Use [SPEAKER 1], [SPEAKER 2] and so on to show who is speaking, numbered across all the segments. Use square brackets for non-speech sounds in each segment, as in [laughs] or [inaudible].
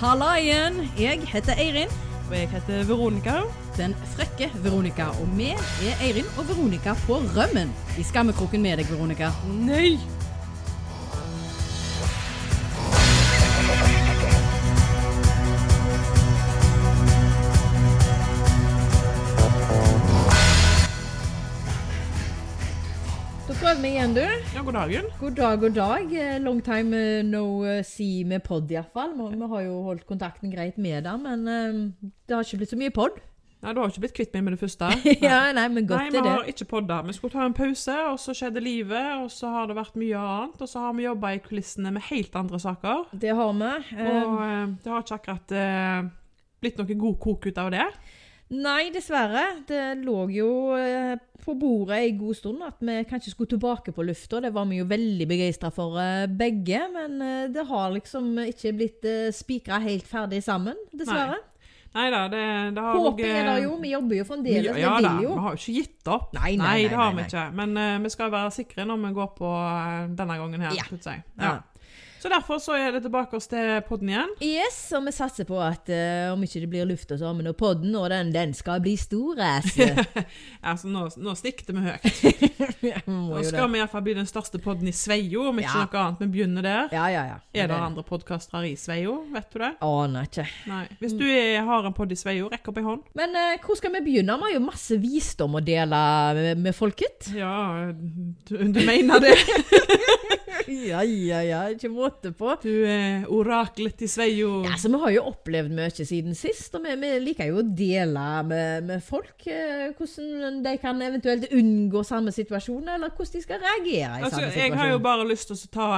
[SPEAKER 1] Halla igjen! Jeg heter Eirin,
[SPEAKER 2] Og jeg heter Veronica.
[SPEAKER 1] den frekke Veronica. Og vi er Eirin og Veronica på rømmen. I skammekroken med deg, Veronica.
[SPEAKER 2] Nei!
[SPEAKER 1] Da prøver vi igjen, du.
[SPEAKER 2] Ja, god dagen.
[SPEAKER 1] God dag, god dag. Eh, Long time eh, no eh, see med pod, iallfall. Vi vi har jo holdt kontakten greit med det, men eh, det har ikke blitt så mye pod. [laughs]
[SPEAKER 2] Nei, du har ikke blitt kvitt meg med det første.
[SPEAKER 1] ja, nei, men
[SPEAKER 2] Nei,
[SPEAKER 1] [laughs] godt
[SPEAKER 2] vi
[SPEAKER 1] er det.
[SPEAKER 2] har ikke podda. Vi skulle ta en pause, og så skjedde livet, og så har det vært mye annet, og så har vi jobba i kulissene med helt andre saker.
[SPEAKER 1] Det har vi. Eh,
[SPEAKER 2] Og eh, det har ikke akkurat eh, blitt noe god kok ut av det.
[SPEAKER 1] Nei, dessverre. Det lå jo eh, på bordet en god stund at vi kanskje skulle tilbake på lufta. Det var vi jo veldig begeistra for eh, begge, men eh, det har liksom ikke blitt spikra helt ferdig sammen, dessverre.
[SPEAKER 2] Nei da, det, det har
[SPEAKER 1] Håpet
[SPEAKER 2] ligget-
[SPEAKER 1] er der jo, vi jobber jo fremdeles,
[SPEAKER 2] Mye-
[SPEAKER 1] vi
[SPEAKER 2] ja, da,
[SPEAKER 1] vil jo.
[SPEAKER 2] Vi har jo ikke gitt opp.
[SPEAKER 1] Nei, nei, nei,
[SPEAKER 2] det har
[SPEAKER 1] nei,
[SPEAKER 2] vi ikke. Men eh, vi skal være sikre når vi går på eh, denne gangen her.
[SPEAKER 1] Ja.
[SPEAKER 2] skulle jeg si.
[SPEAKER 1] Ja.
[SPEAKER 2] Så derfor så er det tilbake oss til podden igjen.
[SPEAKER 1] Yes, og vi satser på at eh, om ikke det blir lufta, så har vi nå podden, og den, den skal bli stor
[SPEAKER 2] [laughs]
[SPEAKER 1] ass.
[SPEAKER 2] Altså, nå, nå stikter vi høyt.
[SPEAKER 1] Må
[SPEAKER 2] Nå
[SPEAKER 1] jo
[SPEAKER 2] skal
[SPEAKER 1] det.
[SPEAKER 2] vi iallfall bli den største podden i Sveio, om ikke
[SPEAKER 1] Ja.
[SPEAKER 2] noe annet. Vi begynner der.
[SPEAKER 1] Ja, ja, ja.
[SPEAKER 2] Er det andre podkastere i Sveio? Vet du det?
[SPEAKER 1] Aner ikke.
[SPEAKER 2] Nei.
[SPEAKER 1] Mm.
[SPEAKER 2] Hvis du er, har en podd i Sveio, rekk opp ei hånd.
[SPEAKER 1] Men eh, hvor skal vi begynne? Vi har jo masse visdom å dele med, med
[SPEAKER 2] [laughs]
[SPEAKER 1] folket.
[SPEAKER 2] Ja, du, du [laughs] mener det?
[SPEAKER 1] Ja, ja, ja. Ikke måte på.
[SPEAKER 2] Du er oraklet i Sveio.
[SPEAKER 1] Ja, så Vi har jo opplevd mye siden sist, og vi, vi liker jo å dele med, med folk eh, hvordan de kan eventuelt unngå samme situasjon, eller hvordan de skal reagere i
[SPEAKER 2] Altså,
[SPEAKER 1] samme
[SPEAKER 2] jeg har jo
[SPEAKER 1] situasjon.
[SPEAKER 2] bare lyst til å ta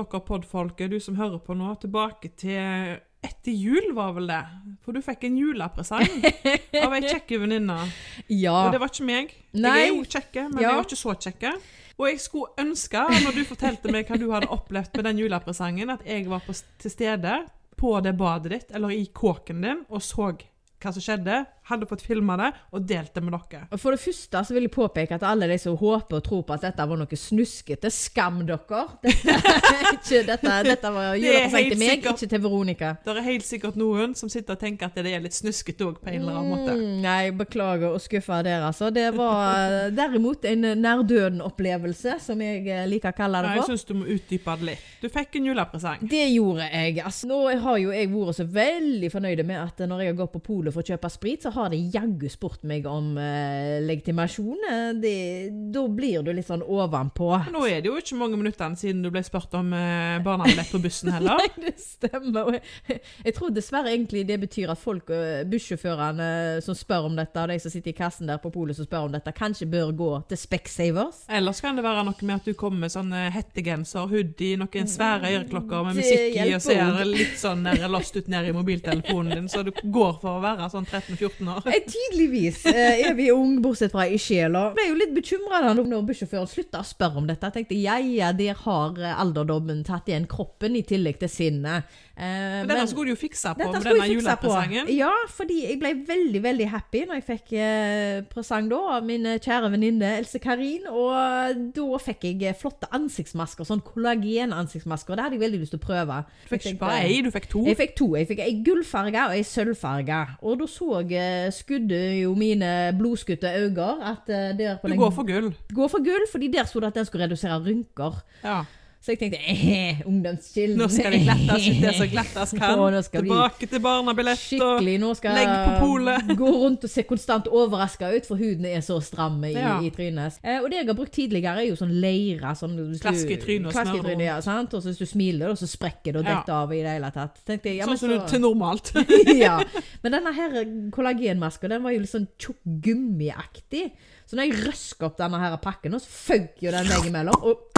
[SPEAKER 2] dere podfolket, du som hører på nå, tilbake til etter jul, var vel det? For du fikk en
[SPEAKER 1] [laughs]
[SPEAKER 2] julepresang av ei kjekk venninne. Og
[SPEAKER 1] Ja,
[SPEAKER 2] det var ikke meg.
[SPEAKER 1] Ah. Nei.
[SPEAKER 2] Jeg er jo kjekke, men
[SPEAKER 1] Ja.
[SPEAKER 2] jeg var ikke så kjekke. Og jeg skulle ønske, når du fortalte meg hva du hadde opplevd med den julepresangen, at jeg var på, til stede på det badet ditt, eller i kåken din, og så hva som skjedde, hadde fått filma det, og delt det med dere.
[SPEAKER 1] og For det første så vil jeg påpeke at alle de som håper og tror på at dette var noe snuskete, skam dere! [laughs] Dette, ikke, dette, dette var
[SPEAKER 2] Det er
[SPEAKER 1] julepresang
[SPEAKER 2] helt
[SPEAKER 1] til meg,
[SPEAKER 2] sikkert.
[SPEAKER 1] ikke til Veronica.
[SPEAKER 2] Det er helt sikkert noen som sitter og tenker at det er litt snuskete òg, på en eller annen måte.
[SPEAKER 1] Mm, nei, beklager å skuffe dere, altså. Det var eh, derimot en nærdøden-opplevelse, som jeg eh, liker å kalle det
[SPEAKER 2] Ja, jeg
[SPEAKER 1] for.
[SPEAKER 2] syns du må utdype det litt. Du fikk en julepresang.
[SPEAKER 1] Det gjorde jeg. Altså, nå har jo jeg vært så veldig fornøyd med at eh, når jeg har gått på polet for å kjøpe sprit, så har de jaggu spurt meg om eh, legitimasjon. Eh, Det, da blir du litt sånn ovenpå.
[SPEAKER 2] Nå er det jo ikke mange minuttene siden du ble spurt om eh, barnehagebillett på bussen heller.
[SPEAKER 1] Nei, det stemmer. Og jeg, jeg tror dessverre egentlig det betyr at folk, eh, bussjåførene eh, som spør om dette, og de som sitter i kassen der på polet som spør om dette, kanskje bør gå til Specsavers.
[SPEAKER 2] Ellers kan det være noe med at du kommer med sånn eh, hettegenser, hoodie, noen svære øreklokker med
[SPEAKER 1] Mm. Det
[SPEAKER 2] musikk i,
[SPEAKER 1] hjelper
[SPEAKER 2] og ser
[SPEAKER 1] også.
[SPEAKER 2] litt sånn der lost ut ned i mobiltelefonen din, så du går for å være sånn 13-14
[SPEAKER 1] [laughs]
[SPEAKER 2] år.
[SPEAKER 1] Eh, Tydeligvis eh, er vi ung, bortsett fra i sjela. Jeg ble jo litt bekymra når bussjåføren slutta å spørre om dette. Jeg tenkte ja, ja, der har eh, alderdommen tatt igjen kroppen i tillegg til sinnet. Eh,
[SPEAKER 2] Men denne skulle du jo fikse på
[SPEAKER 1] dette
[SPEAKER 2] med
[SPEAKER 1] skulle
[SPEAKER 2] denne
[SPEAKER 1] jeg fikse på.
[SPEAKER 2] julepresangen.
[SPEAKER 1] Ja, fordi jeg ble veldig veldig happy når jeg fikk eh, presang da av min eh, kjære venninne Else Karin. Og da fikk jeg eh, flotte ansiktsmasker, sånn kollagenansiktsmasker. Det hadde jeg veldig lyst til å prøve.
[SPEAKER 2] Du fikk
[SPEAKER 1] Jeg
[SPEAKER 2] ikke
[SPEAKER 1] tenkte-
[SPEAKER 2] bare ei, du fikk to.
[SPEAKER 1] jeg fikk to. Jeg fikk ei gullfarge og ei sølvfarge. Og da så eh, skudde jo mine blodskutte øyne at eh, der på
[SPEAKER 2] Du
[SPEAKER 1] den
[SPEAKER 2] går for gull.
[SPEAKER 1] Gå for gull, fordi der sto det at den skulle redusere rynker.
[SPEAKER 2] Ja.
[SPEAKER 1] Så jeg tenkte eh, ungdomskilden. [laughs]
[SPEAKER 2] Nå skal det glattes ut det som glattes kan.
[SPEAKER 1] Å, nå skal det bli
[SPEAKER 2] Tilbake til barnebillett og
[SPEAKER 1] Skikkelig. Nå skal
[SPEAKER 2] legg på polet.
[SPEAKER 1] gå rundt
[SPEAKER 2] [laughs]
[SPEAKER 1] og se konstant overraska ut, for huden er så stram i,
[SPEAKER 2] Ja.
[SPEAKER 1] i trynet. Eh, og det jeg har brukt tidligere, er jo sånn leire. Sånn, hvis du-
[SPEAKER 2] Klask i trynet og
[SPEAKER 1] klask i
[SPEAKER 2] snørr
[SPEAKER 1] trynet, ja, sant? Og så hvis du smiler, da, så sprekker det og
[SPEAKER 2] Ja.
[SPEAKER 1] detter av i det hele tatt. Tenkte jeg, ja, men
[SPEAKER 2] Sånn som du
[SPEAKER 1] så-
[SPEAKER 2] til normalt.
[SPEAKER 1] [laughs] ja. Men denne her kollagenmaska den var jo litt sånn tjukk gummiaktig. Så når jeg røska opp denne her pakken, så føk jo den meg imellom. Og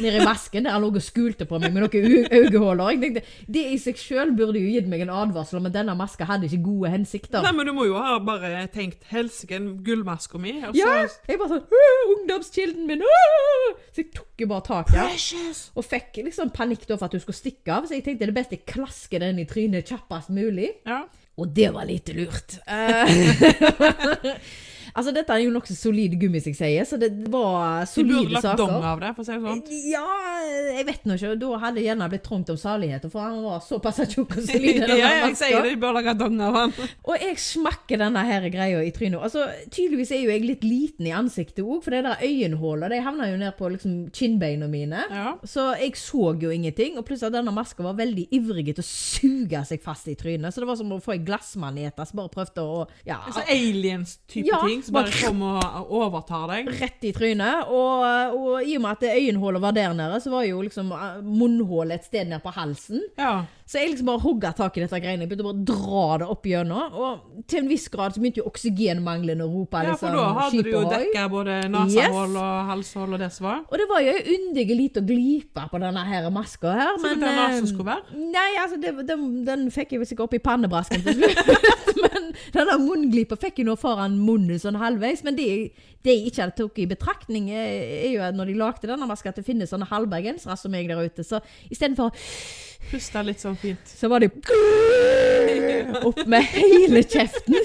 [SPEAKER 1] ned i masken der han lå og skulte på meg med noen ø- øyehuller. Jeg tenkte, Det i seg sjøl burde jo gitt meg en advarsel om at denne maska hadde ikke gode hensikter.
[SPEAKER 2] Nei, men du må jo ha bare tenkt Helsiken, gullmaska mi. Og så
[SPEAKER 1] Ja, jeg bare sånn «Åh, Ungdomskilden min! åh!» Så jeg tok jo bare tak i den.
[SPEAKER 2] Precious!
[SPEAKER 1] Og fikk liksom panikk da for at hun skulle stikke av, så jeg tenkte det beste jeg klasker den i trynet kjappest mulig.
[SPEAKER 2] Ja. [laughs]
[SPEAKER 1] Og det var lite lurt. Eh, [laughs] Altså, dette er jo nokså solid gummi, som jeg sier, så det var
[SPEAKER 2] De
[SPEAKER 1] solide
[SPEAKER 2] burde lagt
[SPEAKER 1] saker.
[SPEAKER 2] dong av det, for å si det sånn.
[SPEAKER 1] Ja, jeg vet nå ikke. Da hadde det gjerne blitt trangt om saligheter, for han var såpass tjukk [laughs] og
[SPEAKER 2] [laughs]
[SPEAKER 1] solid. i denne
[SPEAKER 2] ja, jeg
[SPEAKER 1] maska.
[SPEAKER 2] sier det, de bør lage dong
[SPEAKER 1] [laughs]
[SPEAKER 2] av han.
[SPEAKER 1] Og jeg smakker denne her greia i trynet. Altså, tydeligvis er jo jeg litt liten i ansiktet òg, for det der øyenhålet de havna jo ned på liksom, kinnbeina mine.
[SPEAKER 2] Ja.
[SPEAKER 1] Så jeg så jo ingenting, og plutselig at denne maska var veldig ivrig til å suge seg fast i trynet. Så det var som å få ei glassmanet som bare prøvde å ja,
[SPEAKER 2] Altså aliens-type
[SPEAKER 1] Ja,
[SPEAKER 2] ting som bare
[SPEAKER 1] bare-
[SPEAKER 2] kommer og overtar deg.
[SPEAKER 1] rett i trynet. Og, og i og med at det øyenhålet var der nede, så var jo liksom eh, munnhålet et sted ned på halsen.
[SPEAKER 2] Ja.
[SPEAKER 1] Så jeg liksom bare hogga tak i dette greiene. Jeg begynte bare å dra det opp gjennom. Og til en viss grad så begynte jo oksygenmangelen å rope
[SPEAKER 2] ja,
[SPEAKER 1] liksom
[SPEAKER 2] for da hadde du jo
[SPEAKER 1] «Skipohoi!»
[SPEAKER 2] dekka både nasahull og halshull og det som var.
[SPEAKER 1] Og det var jo ei undige lita glipe på denne her maska her.
[SPEAKER 2] Så
[SPEAKER 1] Men,
[SPEAKER 2] det var nasen
[SPEAKER 1] eh,
[SPEAKER 2] skulle være?
[SPEAKER 1] Nei, altså, det, den, den fikk jeg vel sikkert opp i pannebrasken til slutt. [laughs] men denne munnglipa fikk jeg nå foran munnen sånn halvveis. Men det, det jeg ikke hadde tok i betraktning, er, er jo at når de lagde denne maska, at det finnes sånne halvbergensere som meg der ute. Så istedenfor
[SPEAKER 2] Pusta litt sånn fint.
[SPEAKER 1] så var det [laughs] opp med hele kjeften.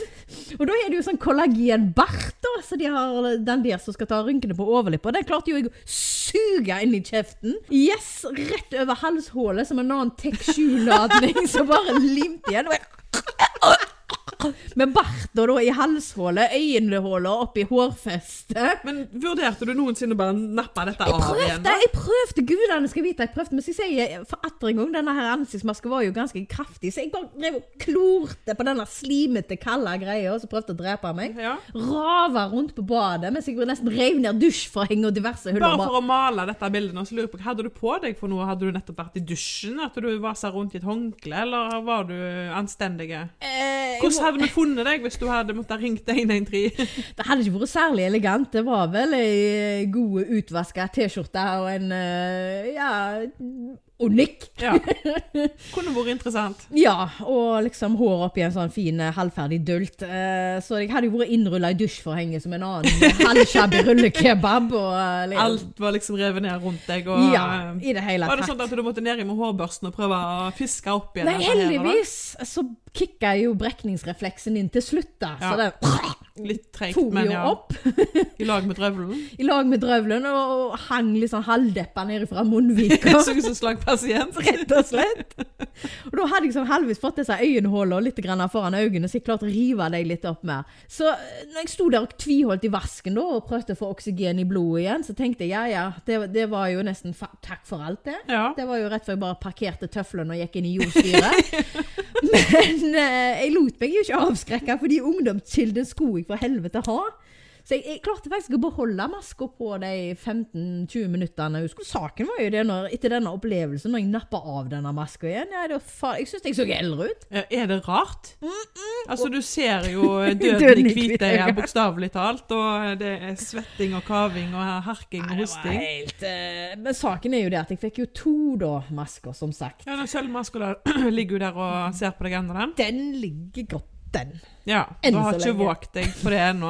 [SPEAKER 1] Og da er det jo sånn kollagenbart, da. Så de har den der som skal ta rynkene på overlippa. Den klarte jo jeg å suge inn i kjeften. Yes, rett over halshålet som en annen Tek 7-ladning [laughs] som bare limte igjen. Og jeg med barta da i halshålet, øyenhålet oppi hårfestet.
[SPEAKER 2] Men vurderte du noensinne å bare nappe dette
[SPEAKER 1] Jeg
[SPEAKER 2] av igjen?
[SPEAKER 1] prøvde,
[SPEAKER 2] da?
[SPEAKER 1] jeg prøvde, gudene skal vite jeg prøvde, men så sier jeg for atter en gang, denne her ansiktsmasken var jo ganske kraftig, så jeg bare drev og klorte på denne slimete, kalde greia, og så prøvde å drepe meg.
[SPEAKER 2] Ja.
[SPEAKER 1] Rava rundt på badet, mens jeg nesten rev ned dusjforheng og diverse huller.
[SPEAKER 2] Bare for å male dette bildet, nå, så lurer jeg på, hadde du på deg for noe? Hadde du nettopp vært i dusjen? At du vasa rundt i et håndkle, eller var du anstendig?
[SPEAKER 1] Eh, jeg må-
[SPEAKER 2] Hvordan hadde vi funnet deg hvis du hadde måttet
[SPEAKER 1] [laughs]
[SPEAKER 2] ringt 113?
[SPEAKER 1] Det hadde ikke vært særlig elegant. Det var vel ei god utvaska T-skjorte og en eh, ja, unik.
[SPEAKER 2] Ja. Kunne vært interessant.
[SPEAKER 1] Ja, og liksom hår oppi en sånn fin eh, halvferdig dult. Eh, Så jeg hadde jo vært innrulla i dusjforhenget som en annen [laughs] halvshabby rullekebab. Og eh, liksom-
[SPEAKER 2] Alt var liksom revet ned rundt deg, og
[SPEAKER 1] Ja, i det hele
[SPEAKER 2] Var det
[SPEAKER 1] tatt.
[SPEAKER 2] sånn at du måtte ned i med hårbørsten og prøve å fiske opp igjen?
[SPEAKER 1] Nei,
[SPEAKER 2] dette her, da?
[SPEAKER 1] heldigvis så kicka jo brekningsrefleksen inn til slutt, da.
[SPEAKER 2] Ja.
[SPEAKER 1] Så den
[SPEAKER 2] Litt treigt,
[SPEAKER 1] for
[SPEAKER 2] men
[SPEAKER 1] jo
[SPEAKER 2] ja.
[SPEAKER 1] opp
[SPEAKER 2] I lag med drøvelen.
[SPEAKER 1] [laughs] i lag med drøvelen og og hang litt sånn halvdeppa ned fra munnvika.
[SPEAKER 2] Jeg [laughs] så ut som en slagpasient.
[SPEAKER 1] [laughs] Rett og slett. Og da hadde jeg sånn halvvis fått disse øyenhullene litt grann foran øynene, så jeg klarte å rive dem litt opp mer. Så eh, når jeg sto der og tviholdt i vasken da, og prøvde å få oksygen i blodet igjen, så tenkte jeg ja ja, det, det var jo nesten fa takk for alt, det.
[SPEAKER 2] Ja.
[SPEAKER 1] [laughs] Det var jo rett før jeg bare parkerte tøflene og gikk inn i jordstyret. Men eh, jeg lot meg jo ikke avskrekke, fordi ungdomskilden skulle jeg for helvete ha. Så jeg, jeg klarte faktisk å beholde maska på de 15-20 minuttene. jeg husker. Saken var jo det når, etter denne opplevelsen, når jeg nappa av denne maska igjen. Ja, det var fa jeg syns jeg så eldre ut.
[SPEAKER 2] Eh, Er det rart? Altså, du ser jo døden,
[SPEAKER 1] Døden i
[SPEAKER 2] i hvite
[SPEAKER 1] hvite
[SPEAKER 2] øyne,
[SPEAKER 1] øyne.
[SPEAKER 2] bokstavelig talt. Og eh, det er svetting og kaving og harking og hosting.
[SPEAKER 1] Men saken er jo det at jeg fikk jo to da masker, som sagt.
[SPEAKER 2] Ja, den sølvmaskula [clears throat] ligger jo der og ser på deg ennå, den.
[SPEAKER 1] Den ligger godt, den.
[SPEAKER 2] Ja,
[SPEAKER 1] Enn
[SPEAKER 2] Du har
[SPEAKER 1] så
[SPEAKER 2] ikke
[SPEAKER 1] lenge.
[SPEAKER 2] våget deg på det ennå.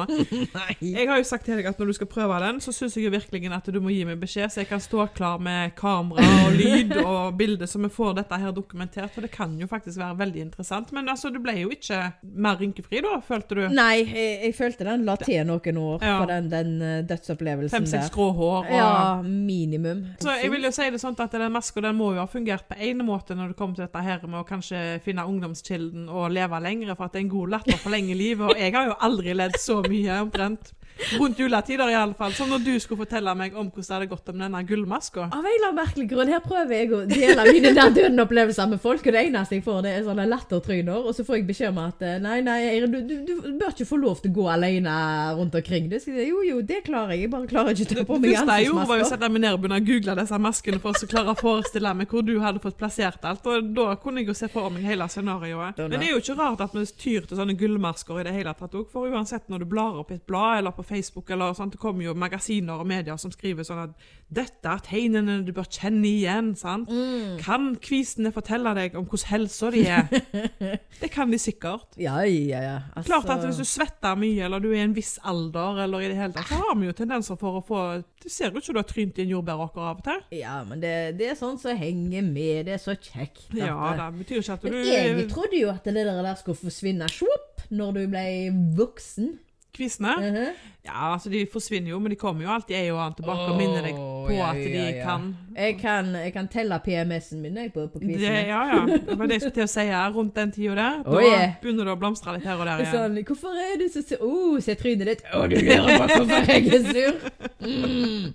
[SPEAKER 1] Nei.
[SPEAKER 2] Jeg har jo sagt til deg at når du skal prøve den, så syns jeg jo virkelig at du må gi meg beskjed, så jeg kan stå klar med kamera og lyd og bilde, så vi får dette her dokumentert. For det kan jo faktisk være veldig interessant. Men altså, du ble jo ikke mer rynkefri da, følte du?
[SPEAKER 1] Nei, jeg, jeg følte den la til noen år
[SPEAKER 2] Ja.
[SPEAKER 1] på den, den eh, dødsopplevelsen
[SPEAKER 2] Fem-seks
[SPEAKER 1] der.
[SPEAKER 2] grå hår og
[SPEAKER 1] Ja, minimum.
[SPEAKER 2] Så jeg vil jo si det sånn at den maska den må jo ha fungert på en måte når det kommer til dette her med å kanskje finne ungdomskilden og leve lengre, for at det er en god latter forlenger livet. Og jeg har jo aldri ledd så mye omtrent. Rundt juletider iallfall. Som når du skulle fortelle meg om hvordan det hadde gått om denne gullmaska.
[SPEAKER 1] Av en eller annen merkelig grunn, her prøver jeg å dele
[SPEAKER 2] [laughs]
[SPEAKER 1] mine der døden-opplevelser med folk, og det eneste jeg får, det er sånne lattertryner, og så får jeg beskjed om at eh, nei, nei, Eirin, du, du, du bør ikke få lov til å gå alene rundt omkring. Du sier jeg, jo, jo, det klarer jeg, jeg bare klarer ikke å ta
[SPEAKER 2] Det
[SPEAKER 1] på meg
[SPEAKER 2] første jeg gjorde, var jo å
[SPEAKER 1] ansiktsmasker.
[SPEAKER 2] sette meg ned og begynne å google disse maskene for å klare å forestille meg hvor du hadde fått plassert alt. Og da kunne jeg jo se for meg hele scenarioet. Men det er jo ikke rart at vi tyr til sånne gullmasker i det hele tatt òg. For uansett når du blar opp i et blad eller på Facebook, eller sånt, det kommer jo magasiner og medier som skriver sånn at dette er tegnene du bør kjenne igjen. sant? Kan kvisene fortelle deg om hvordan helsa di er? det kan de sikkert.
[SPEAKER 1] Ja, ja, ja. Altså,
[SPEAKER 2] Klart at hvis du svetter mye, eller du er i en viss alder, eller i det hele tatt, så har vi jo tendenser for å få Det ser jo ikke ut som du har trynt i en jordbæråker av og til.
[SPEAKER 1] Ja, men det, det er sånn som henger med, det er så kjekt. at- eh,
[SPEAKER 2] Ja, det betyr ikke at
[SPEAKER 1] Men
[SPEAKER 2] du
[SPEAKER 1] jeg trodde jo at det der der skulle forsvinne sjopp når du ble voksen.
[SPEAKER 2] Kvisene.
[SPEAKER 1] Mhm.
[SPEAKER 2] Ja, altså De forsvinner jo, men de kommer jo alltid en og annen tilbake og minner deg
[SPEAKER 1] Åh,
[SPEAKER 2] på
[SPEAKER 1] ja,
[SPEAKER 2] at de
[SPEAKER 1] ja, ja.
[SPEAKER 2] kan
[SPEAKER 1] Jeg kan, jeg kan telle PMS-en min jeg, på, på
[SPEAKER 2] det,
[SPEAKER 1] quizen.
[SPEAKER 2] Ja, ja. Det var det jeg skulle til å si her, rundt den tida der. Da
[SPEAKER 1] Åh, yeah.
[SPEAKER 2] begynner det å blomstre litt her og
[SPEAKER 1] [laughs]
[SPEAKER 2] der igjen.
[SPEAKER 1] Sånn, hvorfor er du så sur? Oh, se trynet ditt. Å, du lurer på hvorfor [laughs] jeg er sur. Mm.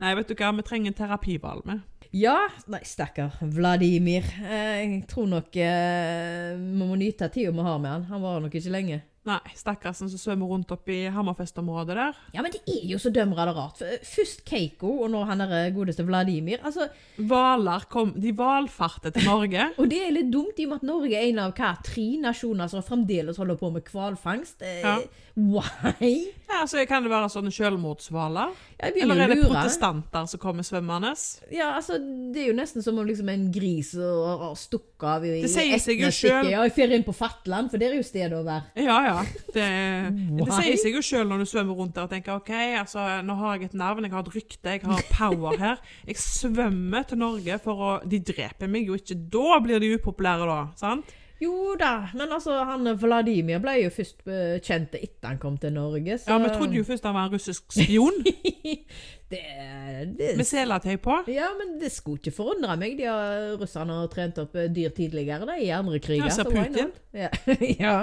[SPEAKER 2] Nei, vet du hva, vi trenger en terapivalme.
[SPEAKER 1] Ja, nei, stakkar Vladimir. Eh, Jeg tror nok eh, vi må nyte tida vi har med han. Han varer nok ikke lenge.
[SPEAKER 2] Nei, stakkarsen som svømmer rundt oppe i Hammerfest-området der.
[SPEAKER 1] Ja, men det er jo så dømmer det rart. F- Først Keiko, og nå han der eh, godeste Vladimir. Altså,
[SPEAKER 2] Hvaler kom De valfarter til Norge.
[SPEAKER 1] og det er litt dumt, i og med at Norge er en av hva, tre nasjoner som fremdeles holder på med hvalfangst. Eh,
[SPEAKER 2] Ja.
[SPEAKER 1] Why?
[SPEAKER 2] Ja, altså, Kan det være sånne selvmordshvaler?
[SPEAKER 1] Jeg
[SPEAKER 2] Eller
[SPEAKER 1] begynner
[SPEAKER 2] er det
[SPEAKER 1] jo å lure.
[SPEAKER 2] protestanter som kommer svømmende?
[SPEAKER 1] Ja, altså, det er jo nesten som om liksom en gris har har stukket av i
[SPEAKER 2] Det sier seg jo
[SPEAKER 1] Etnestikket.
[SPEAKER 2] selv.
[SPEAKER 1] Ja, jeg fer inn på Fatland, for det er jo stedet å være.
[SPEAKER 2] Ja, ja. Det, [laughs] det
[SPEAKER 1] Why?
[SPEAKER 2] sier seg jo sjøl når du svømmer rundt der og tenker OK, altså, nå har jeg et navn, jeg har et rykte, jeg har power her. Jeg svømmer til Norge for å De dreper meg jo ikke. Da blir de upopulære, da. Sant?
[SPEAKER 1] Jo da, men altså, han Vladimir ble jo først eh, kjent etter han kom til Norge. Så
[SPEAKER 2] Ja, Vi
[SPEAKER 1] [laughs]
[SPEAKER 2] trodde jo først han var en russisk spion
[SPEAKER 1] det, det,
[SPEAKER 2] med seletøy på.
[SPEAKER 1] Ja, men det skulle ikke forundre meg. De har, russerne har trent opp eh, dyr tidligere da, i andre kriger.
[SPEAKER 2] Ja, ser
[SPEAKER 1] så why
[SPEAKER 2] Putin.
[SPEAKER 1] not? Ja. [laughs] ja.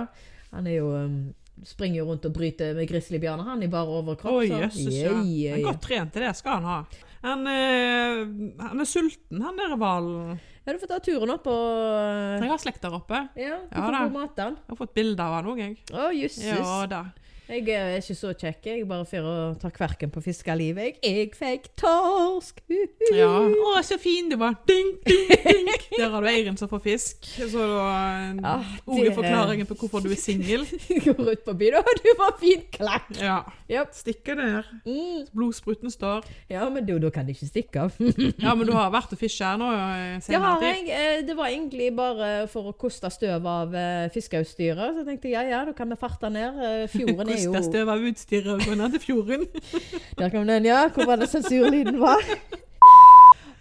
[SPEAKER 1] Han er jo um, Springer jo rundt og bryter med grizzlybjørner, han, i bare
[SPEAKER 2] Å,
[SPEAKER 1] overkropp. så-
[SPEAKER 2] jøsses,
[SPEAKER 1] Ja, ja,
[SPEAKER 2] ja. Han er
[SPEAKER 1] ja.
[SPEAKER 2] godt trent til det skal han ha. Han, eh, han er sulten, han der hvalen.
[SPEAKER 1] Ja, du får ta turen opp og eh,
[SPEAKER 2] Jeg har slekt der oppe.
[SPEAKER 1] Ja, du
[SPEAKER 2] Ja,
[SPEAKER 1] får
[SPEAKER 2] da.
[SPEAKER 1] god mat av han.
[SPEAKER 2] Jeg har fått bilde av han òg, jeg.
[SPEAKER 1] Å, jøsses.
[SPEAKER 2] Ja da.
[SPEAKER 1] Jeg eh, er ikke så kjekk. Jeg er bare fyr og tar kverken på fiskelivet. Jeg, jeg fikk torsk! [laughs] Uhu.
[SPEAKER 2] Ja. Å, så fin du var! Dink, dink, dink. Der har du Eirin som får fisk. Så da um,
[SPEAKER 1] Ja,
[SPEAKER 2] Ordet
[SPEAKER 1] Ah, det-
[SPEAKER 2] forklaringen på hvorfor du er singel.
[SPEAKER 1] Går ut på byen, og du var fin klakk!
[SPEAKER 2] Ja.
[SPEAKER 1] Japp.
[SPEAKER 2] Stikker der.
[SPEAKER 1] Mm.
[SPEAKER 2] Blodspruten står.
[SPEAKER 1] Ja, men du, da kan det ikke stikke av.
[SPEAKER 2] Ja, men du har vært og fisket her nå eh,
[SPEAKER 1] Det
[SPEAKER 2] senere
[SPEAKER 1] har jeg.
[SPEAKER 2] tid.
[SPEAKER 1] Eh, Det var egentlig bare for å koste støv av eh, fiskeutstyret. Så jeg tenkte ja, ja, da kan vi farte ned. Eh, Fjorden er jo
[SPEAKER 2] Kosta støv av utstyret og gå ned til fjorden.
[SPEAKER 1] Der kom den, ja. Hvor var det sensurlyden var? [laughs]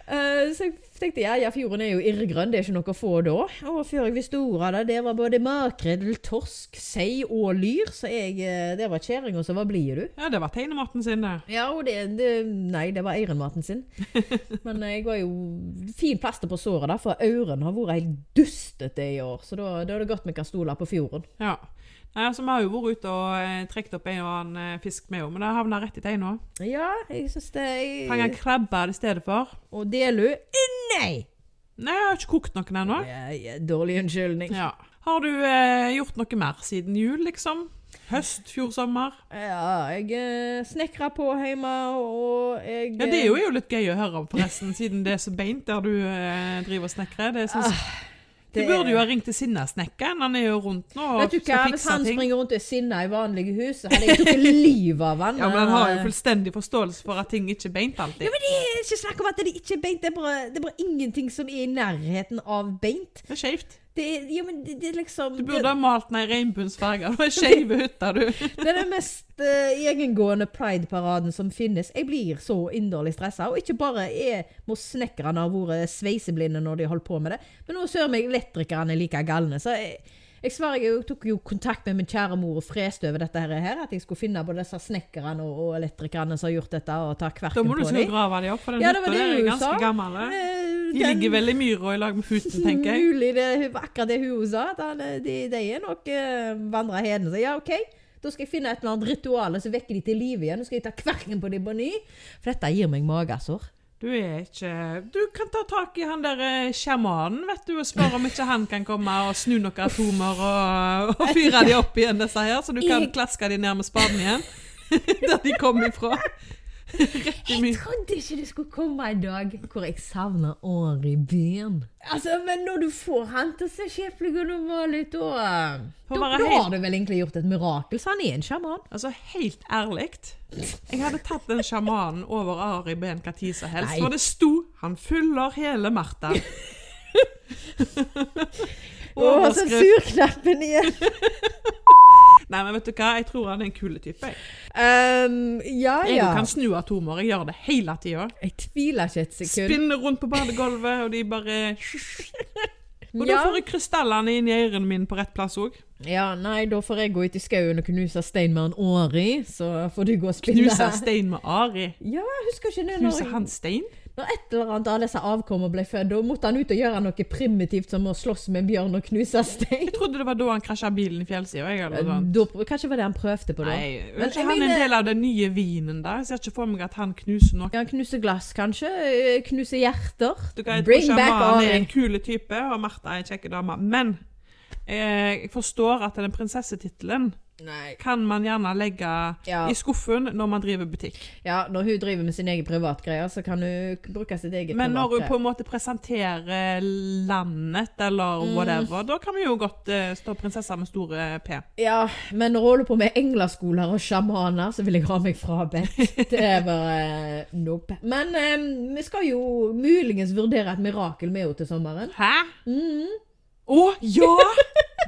[SPEAKER 1] Eh, Så jeg tenkte ja, ja, fjorden er jo irrgrønn, det er ikke noe å få da. Og før jeg visste ordet av det, det var både makrell, torsk, sei og lyr. Så jeg, eh, det var kjerringa som var blid, du.
[SPEAKER 2] Ja, det var tegnematen sin, det.
[SPEAKER 1] Ja, og det, det Nei, det var eirenmaten sin.
[SPEAKER 2] [laughs]
[SPEAKER 1] Men eh, jeg var jo fin plaster på såret, da, for auren har vært helt dustete i år. Så da, da er det godt vi kan stole på fjorden.
[SPEAKER 2] Ja. Nei, altså, Vi har jo vært ute og eh, trukket opp en og annen eh, fisk med henne, men det havna rett i teina.
[SPEAKER 1] Ja, jeg syns det
[SPEAKER 2] Fanga
[SPEAKER 1] Eh.
[SPEAKER 2] krabber i stedet for.
[SPEAKER 1] Og Delu eh, Nei!
[SPEAKER 2] Nei, jeg har ikke kokt noen ennå.
[SPEAKER 1] Ja, ja, dårlig unnskyldning.
[SPEAKER 2] Ja. Har du eh, gjort noe mer siden jul, liksom? Høst, fjor, sommer?
[SPEAKER 1] Ja, jeg snekra på hjemme, og jeg
[SPEAKER 2] Ja, Det er jo, er jo litt gøy å høre om, forresten, siden det er så beint der du eh, driver og snekrer. Det er sånn- du
[SPEAKER 1] Ah, det er-
[SPEAKER 2] burde jo ha ringt til Sinnasnekkeren, han er jo rundt nå og
[SPEAKER 1] eh, Vet du hva,
[SPEAKER 2] skal
[SPEAKER 1] Hvis
[SPEAKER 2] fikse
[SPEAKER 1] han
[SPEAKER 2] ting.
[SPEAKER 1] springer rundt og er sinna i vanlige hus, så hadde jeg tatt livet av han.
[SPEAKER 2] Ja, men Han har jo fullstendig forståelse for at ting ikke er beint alltid.
[SPEAKER 1] Ja, men Det er ikke snakk om at det ikke er beint. Det er bare, det er bare ingenting som er i nærheten av beint.
[SPEAKER 2] Det er skeivt.
[SPEAKER 1] Det er, ja, men det, det er liksom
[SPEAKER 2] Du burde ha malt den i regnbuens farger. Du er skeive hytta, du.
[SPEAKER 1] Det er den mest eh, egengående prideparaden som finnes. Jeg blir så inderlig stressa. Og ikke bare er må snekkerne ha vært sveiseblinde når de holdt på med det, men nå søren meg elektrikerne er like galne. Så jeg, jeg svarer jeg tok jo kontakt med min kjære mor og freste over dette her, at jeg skulle finne både disse snekkerne og, og elektrikerne som har gjort dette, og ta
[SPEAKER 2] Da
[SPEAKER 1] kverken
[SPEAKER 2] må du
[SPEAKER 1] på
[SPEAKER 2] til å
[SPEAKER 1] dem.
[SPEAKER 2] grave dem opp, for den
[SPEAKER 1] Ja,
[SPEAKER 2] ja,
[SPEAKER 1] det var
[SPEAKER 2] hytta
[SPEAKER 1] det
[SPEAKER 2] der er
[SPEAKER 1] hun
[SPEAKER 2] ganske
[SPEAKER 1] sa.
[SPEAKER 2] gammel. eh.
[SPEAKER 1] Eh,
[SPEAKER 2] De
[SPEAKER 1] den-
[SPEAKER 2] ligger vel i myra i lag med futen, tenker jeg.
[SPEAKER 1] Mulig det var akkurat det hun sa. At han, eh, de, de er nok uh, vandra heden. Så ja, OK. Da skal jeg finne et eller annet ritual som vekker de til live igjen. Nå skal jeg ta kverken på dem på ny. For dette gir meg magesår.
[SPEAKER 2] Du er ikke Du kan ta tak i han der eh, sjamanen, vet du, og spørre om ikke han kan komme og snu noen atomer og, og fyre de opp igjen, disse her, så du kan
[SPEAKER 1] Jeg-
[SPEAKER 2] klaske de ned med spaden igjen. [laughs] Der de kom ifra. Rett i
[SPEAKER 1] Jeg
[SPEAKER 2] myr.
[SPEAKER 1] trodde ikke det skulle komme en dag hvor jeg savner år i byen. Altså, Men når du får han til å se kjeplig og normal ut, da
[SPEAKER 2] Får
[SPEAKER 1] Da
[SPEAKER 2] være
[SPEAKER 1] da
[SPEAKER 2] helt-
[SPEAKER 1] har du vel egentlig gjort et mirakel, så han er en sjaman.
[SPEAKER 2] Altså, helt ærlig Jeg hadde tatt den sjamanen over Ari Ben hva tid som helst,
[SPEAKER 1] Nei.
[SPEAKER 2] for det sto 'Han fyller hele Martha'.
[SPEAKER 1] [laughs] Å, så
[SPEAKER 2] Overskrift.
[SPEAKER 1] surknappen igjen! [laughs]
[SPEAKER 2] Nei, men vet du hva, jeg tror han er en kul type. Jeg,
[SPEAKER 1] Um, ja,
[SPEAKER 2] jeg
[SPEAKER 1] ja.
[SPEAKER 2] kan snu atomer. Jeg gjør det hele tida.
[SPEAKER 1] Jeg tviler ikke et sekund. [laughs]
[SPEAKER 2] Spinner rundt på badegulvet, og de bare Og da får jeg krystallene inn i ørene mine på rett plass òg.
[SPEAKER 1] Ja, nei, da får jeg gå ut i skauen og knuse stein med en åre i, så får du gå og spille.
[SPEAKER 2] Knuse stein med Ari.
[SPEAKER 1] Ja, jeg husker ikke det.
[SPEAKER 2] Knuse
[SPEAKER 1] Når,
[SPEAKER 2] han stein?
[SPEAKER 1] når et eller annet av disse avkommene ble født, da måtte han ut og gjøre noe primitivt som å slåss med en bjørn og knuse stein.
[SPEAKER 2] Jeg trodde det var da han krasja bilen i fjellsida. jeg, eller noe
[SPEAKER 1] Da,
[SPEAKER 2] sånt.
[SPEAKER 1] kanskje var det han prøvde på da?
[SPEAKER 2] Nei,
[SPEAKER 1] Men jeg
[SPEAKER 2] er ikke han en
[SPEAKER 1] mener-
[SPEAKER 2] del av den nye vinen der? Jeg ser ikke for meg at han knuser noe.
[SPEAKER 1] Ja, knuse glass, kanskje? Eh, Knuse hjerter?
[SPEAKER 2] Du kan jeg tror
[SPEAKER 1] Bring
[SPEAKER 2] ikke
[SPEAKER 1] back
[SPEAKER 2] han er en
[SPEAKER 1] Ari!
[SPEAKER 2] kule type, og Martha er en kjekk dame. Men eh, jeg forstår at den prinsessetittelen
[SPEAKER 1] Nei.
[SPEAKER 2] kan man gjerne legge
[SPEAKER 1] Ja.
[SPEAKER 2] i skuffen når man driver butikk.
[SPEAKER 1] Ja, når hun driver med sin egen privatgreier, så kan hun k- bruke sitt eget
[SPEAKER 2] Men når hun
[SPEAKER 1] private.
[SPEAKER 2] på en måte presenterer landet eller
[SPEAKER 1] Mm.
[SPEAKER 2] whatever, da kan vi jo godt eh, stå prinsessa med store P.
[SPEAKER 1] Ja, men når hun holder på med engleskoler og sjamaner, så vil jeg ha meg frabedt. Det er bare eh, nope. Men eh, vi skal jo muligens vurdere et mirakel med henne til sommeren.
[SPEAKER 2] Hæ?
[SPEAKER 1] Mm.
[SPEAKER 2] Å ja!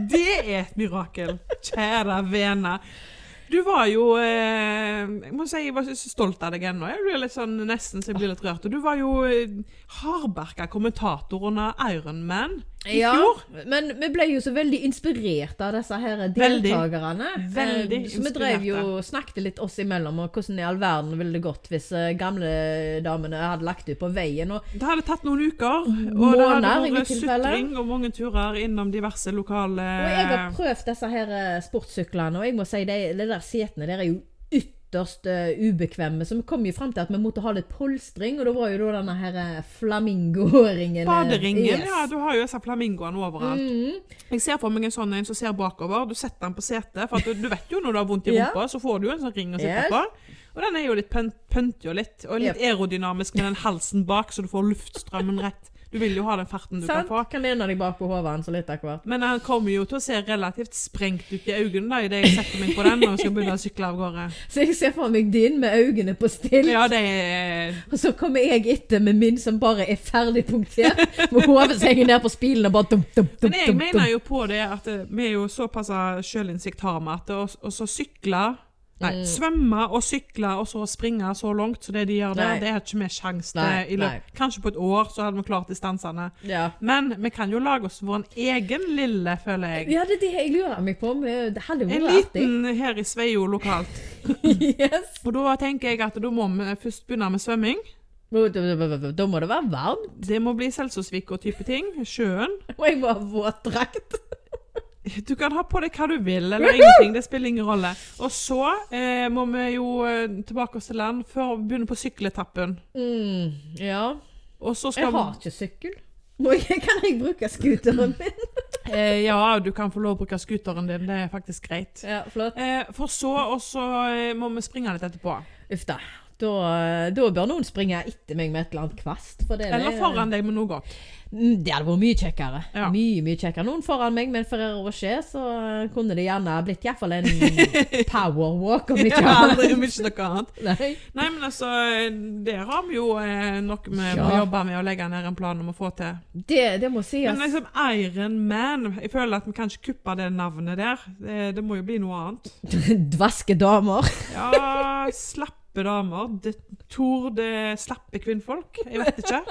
[SPEAKER 2] Det er et mirakel, kjære vene. Du var jo eh, Jeg må si jeg var så stolt av deg ennå. Jeg blir litt sånn, nesten så jeg blir litt rørt. Og du var jo eh, hardbarka kommentator under Ironman i fjor.
[SPEAKER 1] Men vi ble jo så veldig inspirert av disse her
[SPEAKER 2] Veldig.
[SPEAKER 1] deltakerne. Eh,
[SPEAKER 2] Veldig
[SPEAKER 1] Så vi drev jo og snakket litt oss imellom, og hvordan i all verden ville det gått hvis eh, gamle damene hadde lagt ut på veien. Og
[SPEAKER 2] Det hadde tatt noen uker. Og det
[SPEAKER 1] Måneder, i
[SPEAKER 2] hadde
[SPEAKER 1] mitt
[SPEAKER 2] vært
[SPEAKER 1] tilfelle.
[SPEAKER 2] sutring og mange turer innom diverse lokale
[SPEAKER 1] Og jeg har prøvd disse her eh, sportssyklene, og jeg må si de, de der setene der er jo ytterst eh, ubekvemme. Så vi kom jo frem til at vi måtte ha litt polstring, og da var jo da denne her eh, flamingoringen eh,
[SPEAKER 2] Baderingen,
[SPEAKER 1] yes. Mm. Mhm,
[SPEAKER 2] ja. Du har jo disse flamingoene overalt. Jeg ser for meg en sånn en som ser bakover. Du setter den på setet. For at du, du vet jo når du har vondt i
[SPEAKER 1] [laughs] Ja.
[SPEAKER 2] rumpa, så får du jo en sånn ring å sitte
[SPEAKER 1] Yes.
[SPEAKER 2] på. Og den er jo litt pønt, pønter jo litt. Og litt aerodynamisk med den halsen bak, så du får luftstrømmen rett. Du vil jo ha den farten du
[SPEAKER 1] Sant?
[SPEAKER 2] kan få.
[SPEAKER 1] Kan lene deg bak på hodet hans litt av hvert.
[SPEAKER 2] Men han kommer jo til å se relativt sprengt ut i øynene da, idet jeg setter meg på den og skal begynne å sykle av gårde.
[SPEAKER 1] Så jeg ser for meg din med øynene på still,
[SPEAKER 2] Ja, det er
[SPEAKER 1] og så kommer jeg etter med min som bare er ferdig punktert, [laughs] med hodet som henger ned på spilen og bare dum, dum, dum,
[SPEAKER 2] Men jeg
[SPEAKER 1] dum, dum.
[SPEAKER 2] mener jo på det at eh, vi er jo såpass eh, sjølinnsikt har vi at å- å så sykle Nei,
[SPEAKER 1] Mm.
[SPEAKER 2] svømme og sykle og så springe så langt som det de gjør der,
[SPEAKER 1] Nei.
[SPEAKER 2] det har ikke vi sjanse til.
[SPEAKER 1] Nei,
[SPEAKER 2] i
[SPEAKER 1] nei.
[SPEAKER 2] løpet- Kanskje på et år så hadde vi klart distansene.
[SPEAKER 1] Ja.
[SPEAKER 2] Men vi kan jo lage oss vår egen lille, føler jeg.
[SPEAKER 1] ja, det er det jeg lurer meg på. men Det hadde
[SPEAKER 2] En
[SPEAKER 1] vært artig.
[SPEAKER 2] liten her i Sveio lokalt.
[SPEAKER 1] [laughs] Yes.
[SPEAKER 2] Og da tenker jeg at da må vi først begynne med svømming.
[SPEAKER 1] Da må det være varmt.
[SPEAKER 2] Det må bli Selsåsvik og type ting. Sjøen.
[SPEAKER 1] Og jeg må ha våtdrakt.
[SPEAKER 2] Du kan ha på deg hva du vil, eller ingenting. Det spiller ingen rolle. Og så eh, må vi jo eh, tilbake oss til land før vi begynner på sykkeletappen.
[SPEAKER 1] Mm, ja.
[SPEAKER 2] Og så
[SPEAKER 1] Jeg
[SPEAKER 2] skal
[SPEAKER 1] har ikke sykkel. Må jeg, kan jeg bruke scooteren min?
[SPEAKER 2] [laughs] eh, Ja, du kan få lov å bruke scooteren din. Det er faktisk greit.
[SPEAKER 1] Ja, flott.
[SPEAKER 2] Eh, for så, og så eh, må vi springe litt etterpå.
[SPEAKER 1] Uff da. Da, da bør noen springe etter meg med et eller annet kvast. For det, er-
[SPEAKER 2] Eller foran deg med noe godt.
[SPEAKER 1] Mm, Det hadde vært mye kjekkere.
[SPEAKER 2] Ja.
[SPEAKER 1] Mye, mye kjekkere. Noen foran meg med en Ferrero Rocher, så eh, kunne det gjerne blitt iallfall
[SPEAKER 2] [laughs]
[SPEAKER 1] en powerwalk, om ikke
[SPEAKER 2] Ja,
[SPEAKER 1] annet.
[SPEAKER 2] aldri om ikke noe annet.
[SPEAKER 1] Nei.
[SPEAKER 2] Nei, men altså, eh, der har vi jo eh, noe vi må
[SPEAKER 1] Ja.
[SPEAKER 2] jobbe med å legge ned en plan om å få til.
[SPEAKER 1] Det, det må sies.
[SPEAKER 2] Men liksom Iron Man Jeg føler at vi kan ikke kuppe det navnet der. Det, det må jo bli noe annet.
[SPEAKER 1] [laughs] Dvaske damer.
[SPEAKER 2] Ja, slappe damer. Det, Tor det slappe kvinnfolk. Jeg vet
[SPEAKER 1] [laughs]
[SPEAKER 2] ikke.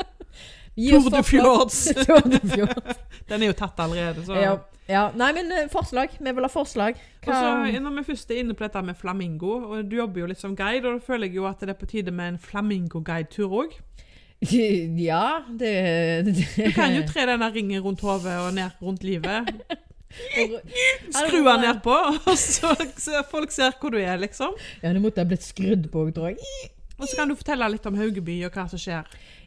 [SPEAKER 1] Gi oss
[SPEAKER 2] Tor de
[SPEAKER 1] forslag.
[SPEAKER 2] Fjords.
[SPEAKER 1] [laughs]
[SPEAKER 2] [laughs]
[SPEAKER 1] Tour de Fjords.
[SPEAKER 2] Den er jo tatt allerede, så.
[SPEAKER 1] Ja. ja. Nei, men eh, forslag. Vi vil ha forslag.
[SPEAKER 2] Og
[SPEAKER 1] Hva,
[SPEAKER 2] så Når vi først er inne på dette med flamingo, og du jobber jo litt som guide, og da føler jeg jo at det er på tide med en flamingo-guidetur òg.
[SPEAKER 1] [laughs] ja, det,
[SPEAKER 2] Du kan
[SPEAKER 1] [laughs]
[SPEAKER 2] jo tre denne ringen rundt hodet og ned rundt livet. Skru
[SPEAKER 1] Ja,
[SPEAKER 2] den
[SPEAKER 1] det-
[SPEAKER 2] nedpå, [laughs] og så, så folk ser hvor du er, liksom.
[SPEAKER 1] Ja, det måtte ha blitt skrudd på, tror jeg.
[SPEAKER 2] Og så kan du fortelle litt om Haugeby og hva som skjer.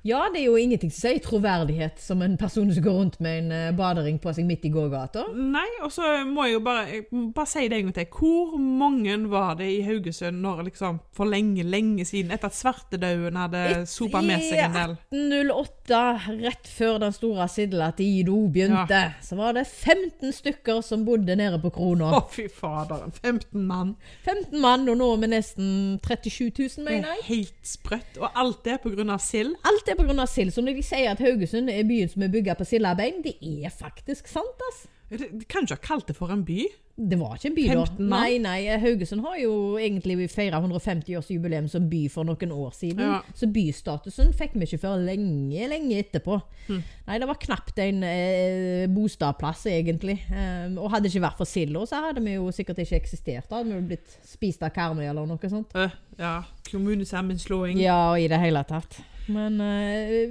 [SPEAKER 1] Ja, det er jo ingenting som sier troverdighet som en person som går rundt med en eh, badering på seg midt i gågata.
[SPEAKER 2] Nei, og så må jeg jo bare, jeg må bare si det en gang til. Hvor mange var det i Haugesund når liksom, for lenge, lenge siden, etter at svartedauden hadde sopa med seg en del?
[SPEAKER 1] 1808, rett før den store sidla til Ido begynte, så var det 15 stykker som bodde nede på
[SPEAKER 2] Å,
[SPEAKER 1] krona.
[SPEAKER 2] fy fader. 15 mann.
[SPEAKER 1] 15 mann, og nå er vi nesten 37 000,
[SPEAKER 2] Det
[SPEAKER 1] mener jeg.
[SPEAKER 2] er helt sprøtt. Og alt det på grunn av sild.
[SPEAKER 1] Alt er pga. sild. Så når de sier at Haugesund er byen som er bygget på sildebein, det er faktisk sant, ass.
[SPEAKER 2] Du kan ikke ha kalt det for en by.
[SPEAKER 1] Det var ikke en by, da.
[SPEAKER 2] 15 mann?
[SPEAKER 1] Nei, nei, Haugesund har jo egentlig feira 150-årsjubileum som by for noen år siden.
[SPEAKER 2] Ja.
[SPEAKER 1] Så bystatusen fikk vi ikke før lenge, lenge etterpå.
[SPEAKER 2] Hm.
[SPEAKER 1] Nei, det var knapt en eh, bostadplass, egentlig. Ehm, og hadde det ikke vært for silda, så hadde vi jo sikkert ikke eksistert. Da hadde vi jo blitt spist av Karmøy eller noe sånt.
[SPEAKER 2] Øh, ja, kommunesammenslåing.
[SPEAKER 1] Ja, og i det hele tatt. Mm. Men eh,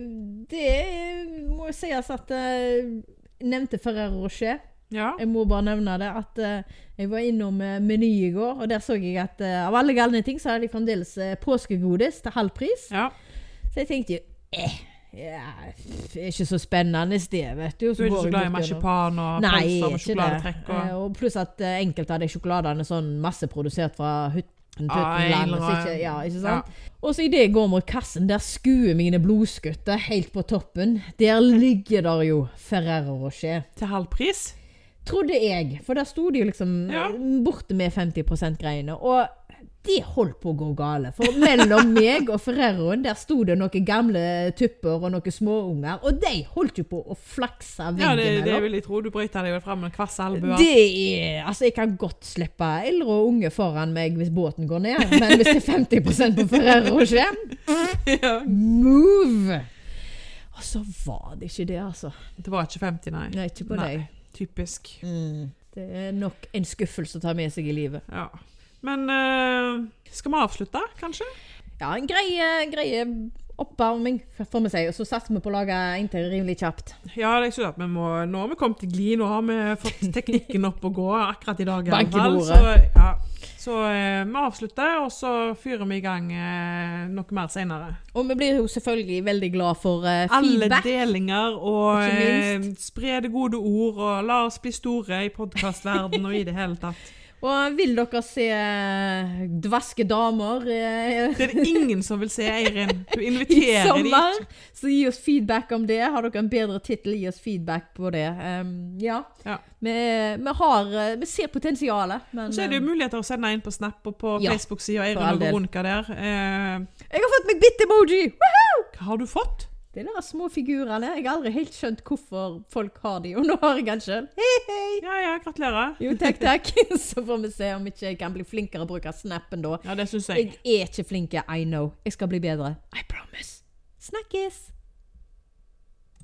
[SPEAKER 1] det må jo sies at eh, Nevnte Ferrero Rocher.
[SPEAKER 2] Ja.
[SPEAKER 1] Jeg må bare nevne det at eh, jeg var innom eh, Meny i går, og der så jeg at eh, av alle galne ting, så hadde de fremdeles eh, påskegodis til halv pris.
[SPEAKER 2] ja.
[SPEAKER 1] Så jeg tenkte jo eh, ja, pff, det er ikke så spennende det, vet du.
[SPEAKER 2] Du er ikke så glad i
[SPEAKER 1] marsipan?
[SPEAKER 2] marsipan og
[SPEAKER 1] Nei,
[SPEAKER 2] pølser
[SPEAKER 1] jeg er
[SPEAKER 2] med
[SPEAKER 1] ikke det.
[SPEAKER 2] sjokoladetrekk og
[SPEAKER 1] Eh, Og pluss at eh, enkelte av de sjokoladene er sånn masseprodusert fra hytten.
[SPEAKER 2] Ja, en
[SPEAKER 1] Tuttenland,
[SPEAKER 2] eller
[SPEAKER 1] så
[SPEAKER 2] annen-
[SPEAKER 1] ikke, ja, ikke sant? Og så idet jeg går mot kassen, der skuer mine blodskutter helt på toppen. Der ligger der jo Ferrero Rocher.
[SPEAKER 2] Til halv pris?
[SPEAKER 1] Trodde jeg, for der sto de jo liksom
[SPEAKER 2] Ja.
[SPEAKER 1] borte med 50 %-greiene. Og det holdt på å gå gale. For mellom [laughs] meg og Ferreroen der sto det noen gamle tupper og noen småunger. Og de holdt jo på å flakse
[SPEAKER 2] Ja, det,
[SPEAKER 1] veggen
[SPEAKER 2] det
[SPEAKER 1] mellom.
[SPEAKER 2] vil jeg tro. Du bryter deg vel fram med en kvass albue.
[SPEAKER 1] Det er Altså, jeg kan godt slippe eldre og unge foran meg hvis båten går ned, men hvis det er 50 på Ferrero Rocher
[SPEAKER 2] Ja.
[SPEAKER 1] Move! Og så var det ikke det, altså.
[SPEAKER 2] Det var ikke 50, nei.
[SPEAKER 1] Nei, ikke på
[SPEAKER 2] Nei.
[SPEAKER 1] deg.
[SPEAKER 2] Typisk.
[SPEAKER 1] Mm. Det er nok en skuffelse å ta med seg i livet.
[SPEAKER 2] Ja. Men eh, skal vi avslutte, kanskje?
[SPEAKER 1] Ja, en grei, grei oppvarming, får vi si. Og så satser vi på å lage en til rimelig kjapt.
[SPEAKER 2] Ja, jeg synes at vi må, nå har vi kommet til gli, nå har vi fått
[SPEAKER 1] [laughs]
[SPEAKER 2] teknikken opp og gå akkurat i dag. i alle
[SPEAKER 1] Bank i
[SPEAKER 2] fall.
[SPEAKER 1] bordet.
[SPEAKER 2] Så, ja. så eh, vi avslutter, og så fyrer vi i gang eh, noe mer senere.
[SPEAKER 1] Og vi blir jo selvfølgelig veldig glad for eh,
[SPEAKER 2] Alle
[SPEAKER 1] feedback.
[SPEAKER 2] delinger, og
[SPEAKER 1] Ikke
[SPEAKER 2] eh, spre det gode ord, og la oss bli store i podcastverdenen og i det hele
[SPEAKER 1] [laughs]
[SPEAKER 2] tatt.
[SPEAKER 1] Og vil dere se eh, dvaske damer eh,
[SPEAKER 2] Det er det ingen som vil se, Eirin. Du
[SPEAKER 1] i
[SPEAKER 2] inviterer de ikke.
[SPEAKER 1] sommer, så gi oss feedback om det. Har dere en bedre tittel, gi oss feedback på det. Em, ja.
[SPEAKER 2] Ja.
[SPEAKER 1] Vi, vi har eh, Vi ser potensialet, men
[SPEAKER 2] Og Så er det
[SPEAKER 1] eh,
[SPEAKER 2] jo muligheter å sende inn på Snap og på
[SPEAKER 1] Ja,
[SPEAKER 2] Facebook-sida
[SPEAKER 1] for all
[SPEAKER 2] Eirin
[SPEAKER 1] del.
[SPEAKER 2] og Veronica der. Eh,
[SPEAKER 1] Jeg har fått meg bitt-emoji!
[SPEAKER 2] hva har du fått?
[SPEAKER 1] Det er de små figurene. Jeg har aldri helt skjønt hvorfor folk har de, og nå har jeg den sjøl. Hei, hei!
[SPEAKER 2] Ja, ja, gratulerer.
[SPEAKER 1] Jo, takk, takk. [laughs] Så får vi se om ikke jeg kan bli flinkere å bruke snappen da.
[SPEAKER 2] Ja, det syns jeg.
[SPEAKER 1] Jeg er ikke flink, I know. Jeg skal bli bedre. I promise. Snakkes!